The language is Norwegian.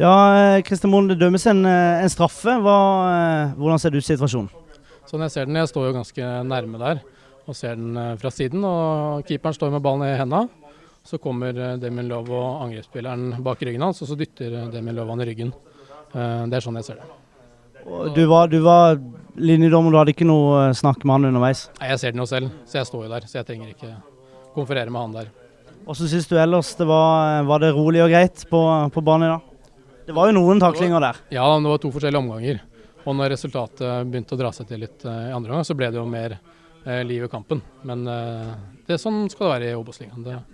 Ja, eh, Christer Moen, det dømmes en, eh, en straffe. Hva, eh, hvordan ser du situasjonen? Sånn jeg ser den, jeg står jo ganske nærme der og ser den eh, fra siden. Og keeperen står med ballen i henda. Så kommer eh, Demir Lov og angrepsspilleren bak ryggen hans, og så dytter eh, Demir Lov han i ryggen. Eh, Det er sånn jeg ser det. Og Du var, du var linjedommer, du hadde ikke noe eh, snakk med han underveis. Nei, Jeg ser den jo selv, så jeg står jo der. Så jeg trenger ikke konferere med han der. Hvordan syns du ellers det var, eh, var det rolig og greit på, på banen i dag? Det var jo noen taklinger der. Ja, men det var to forskjellige omganger. Og når resultatet begynte å dra seg til litt eh, i andre omgang, så ble det jo mer eh, liv i kampen. Men eh, det er sånn skal det være i Obos-ligaen. Det-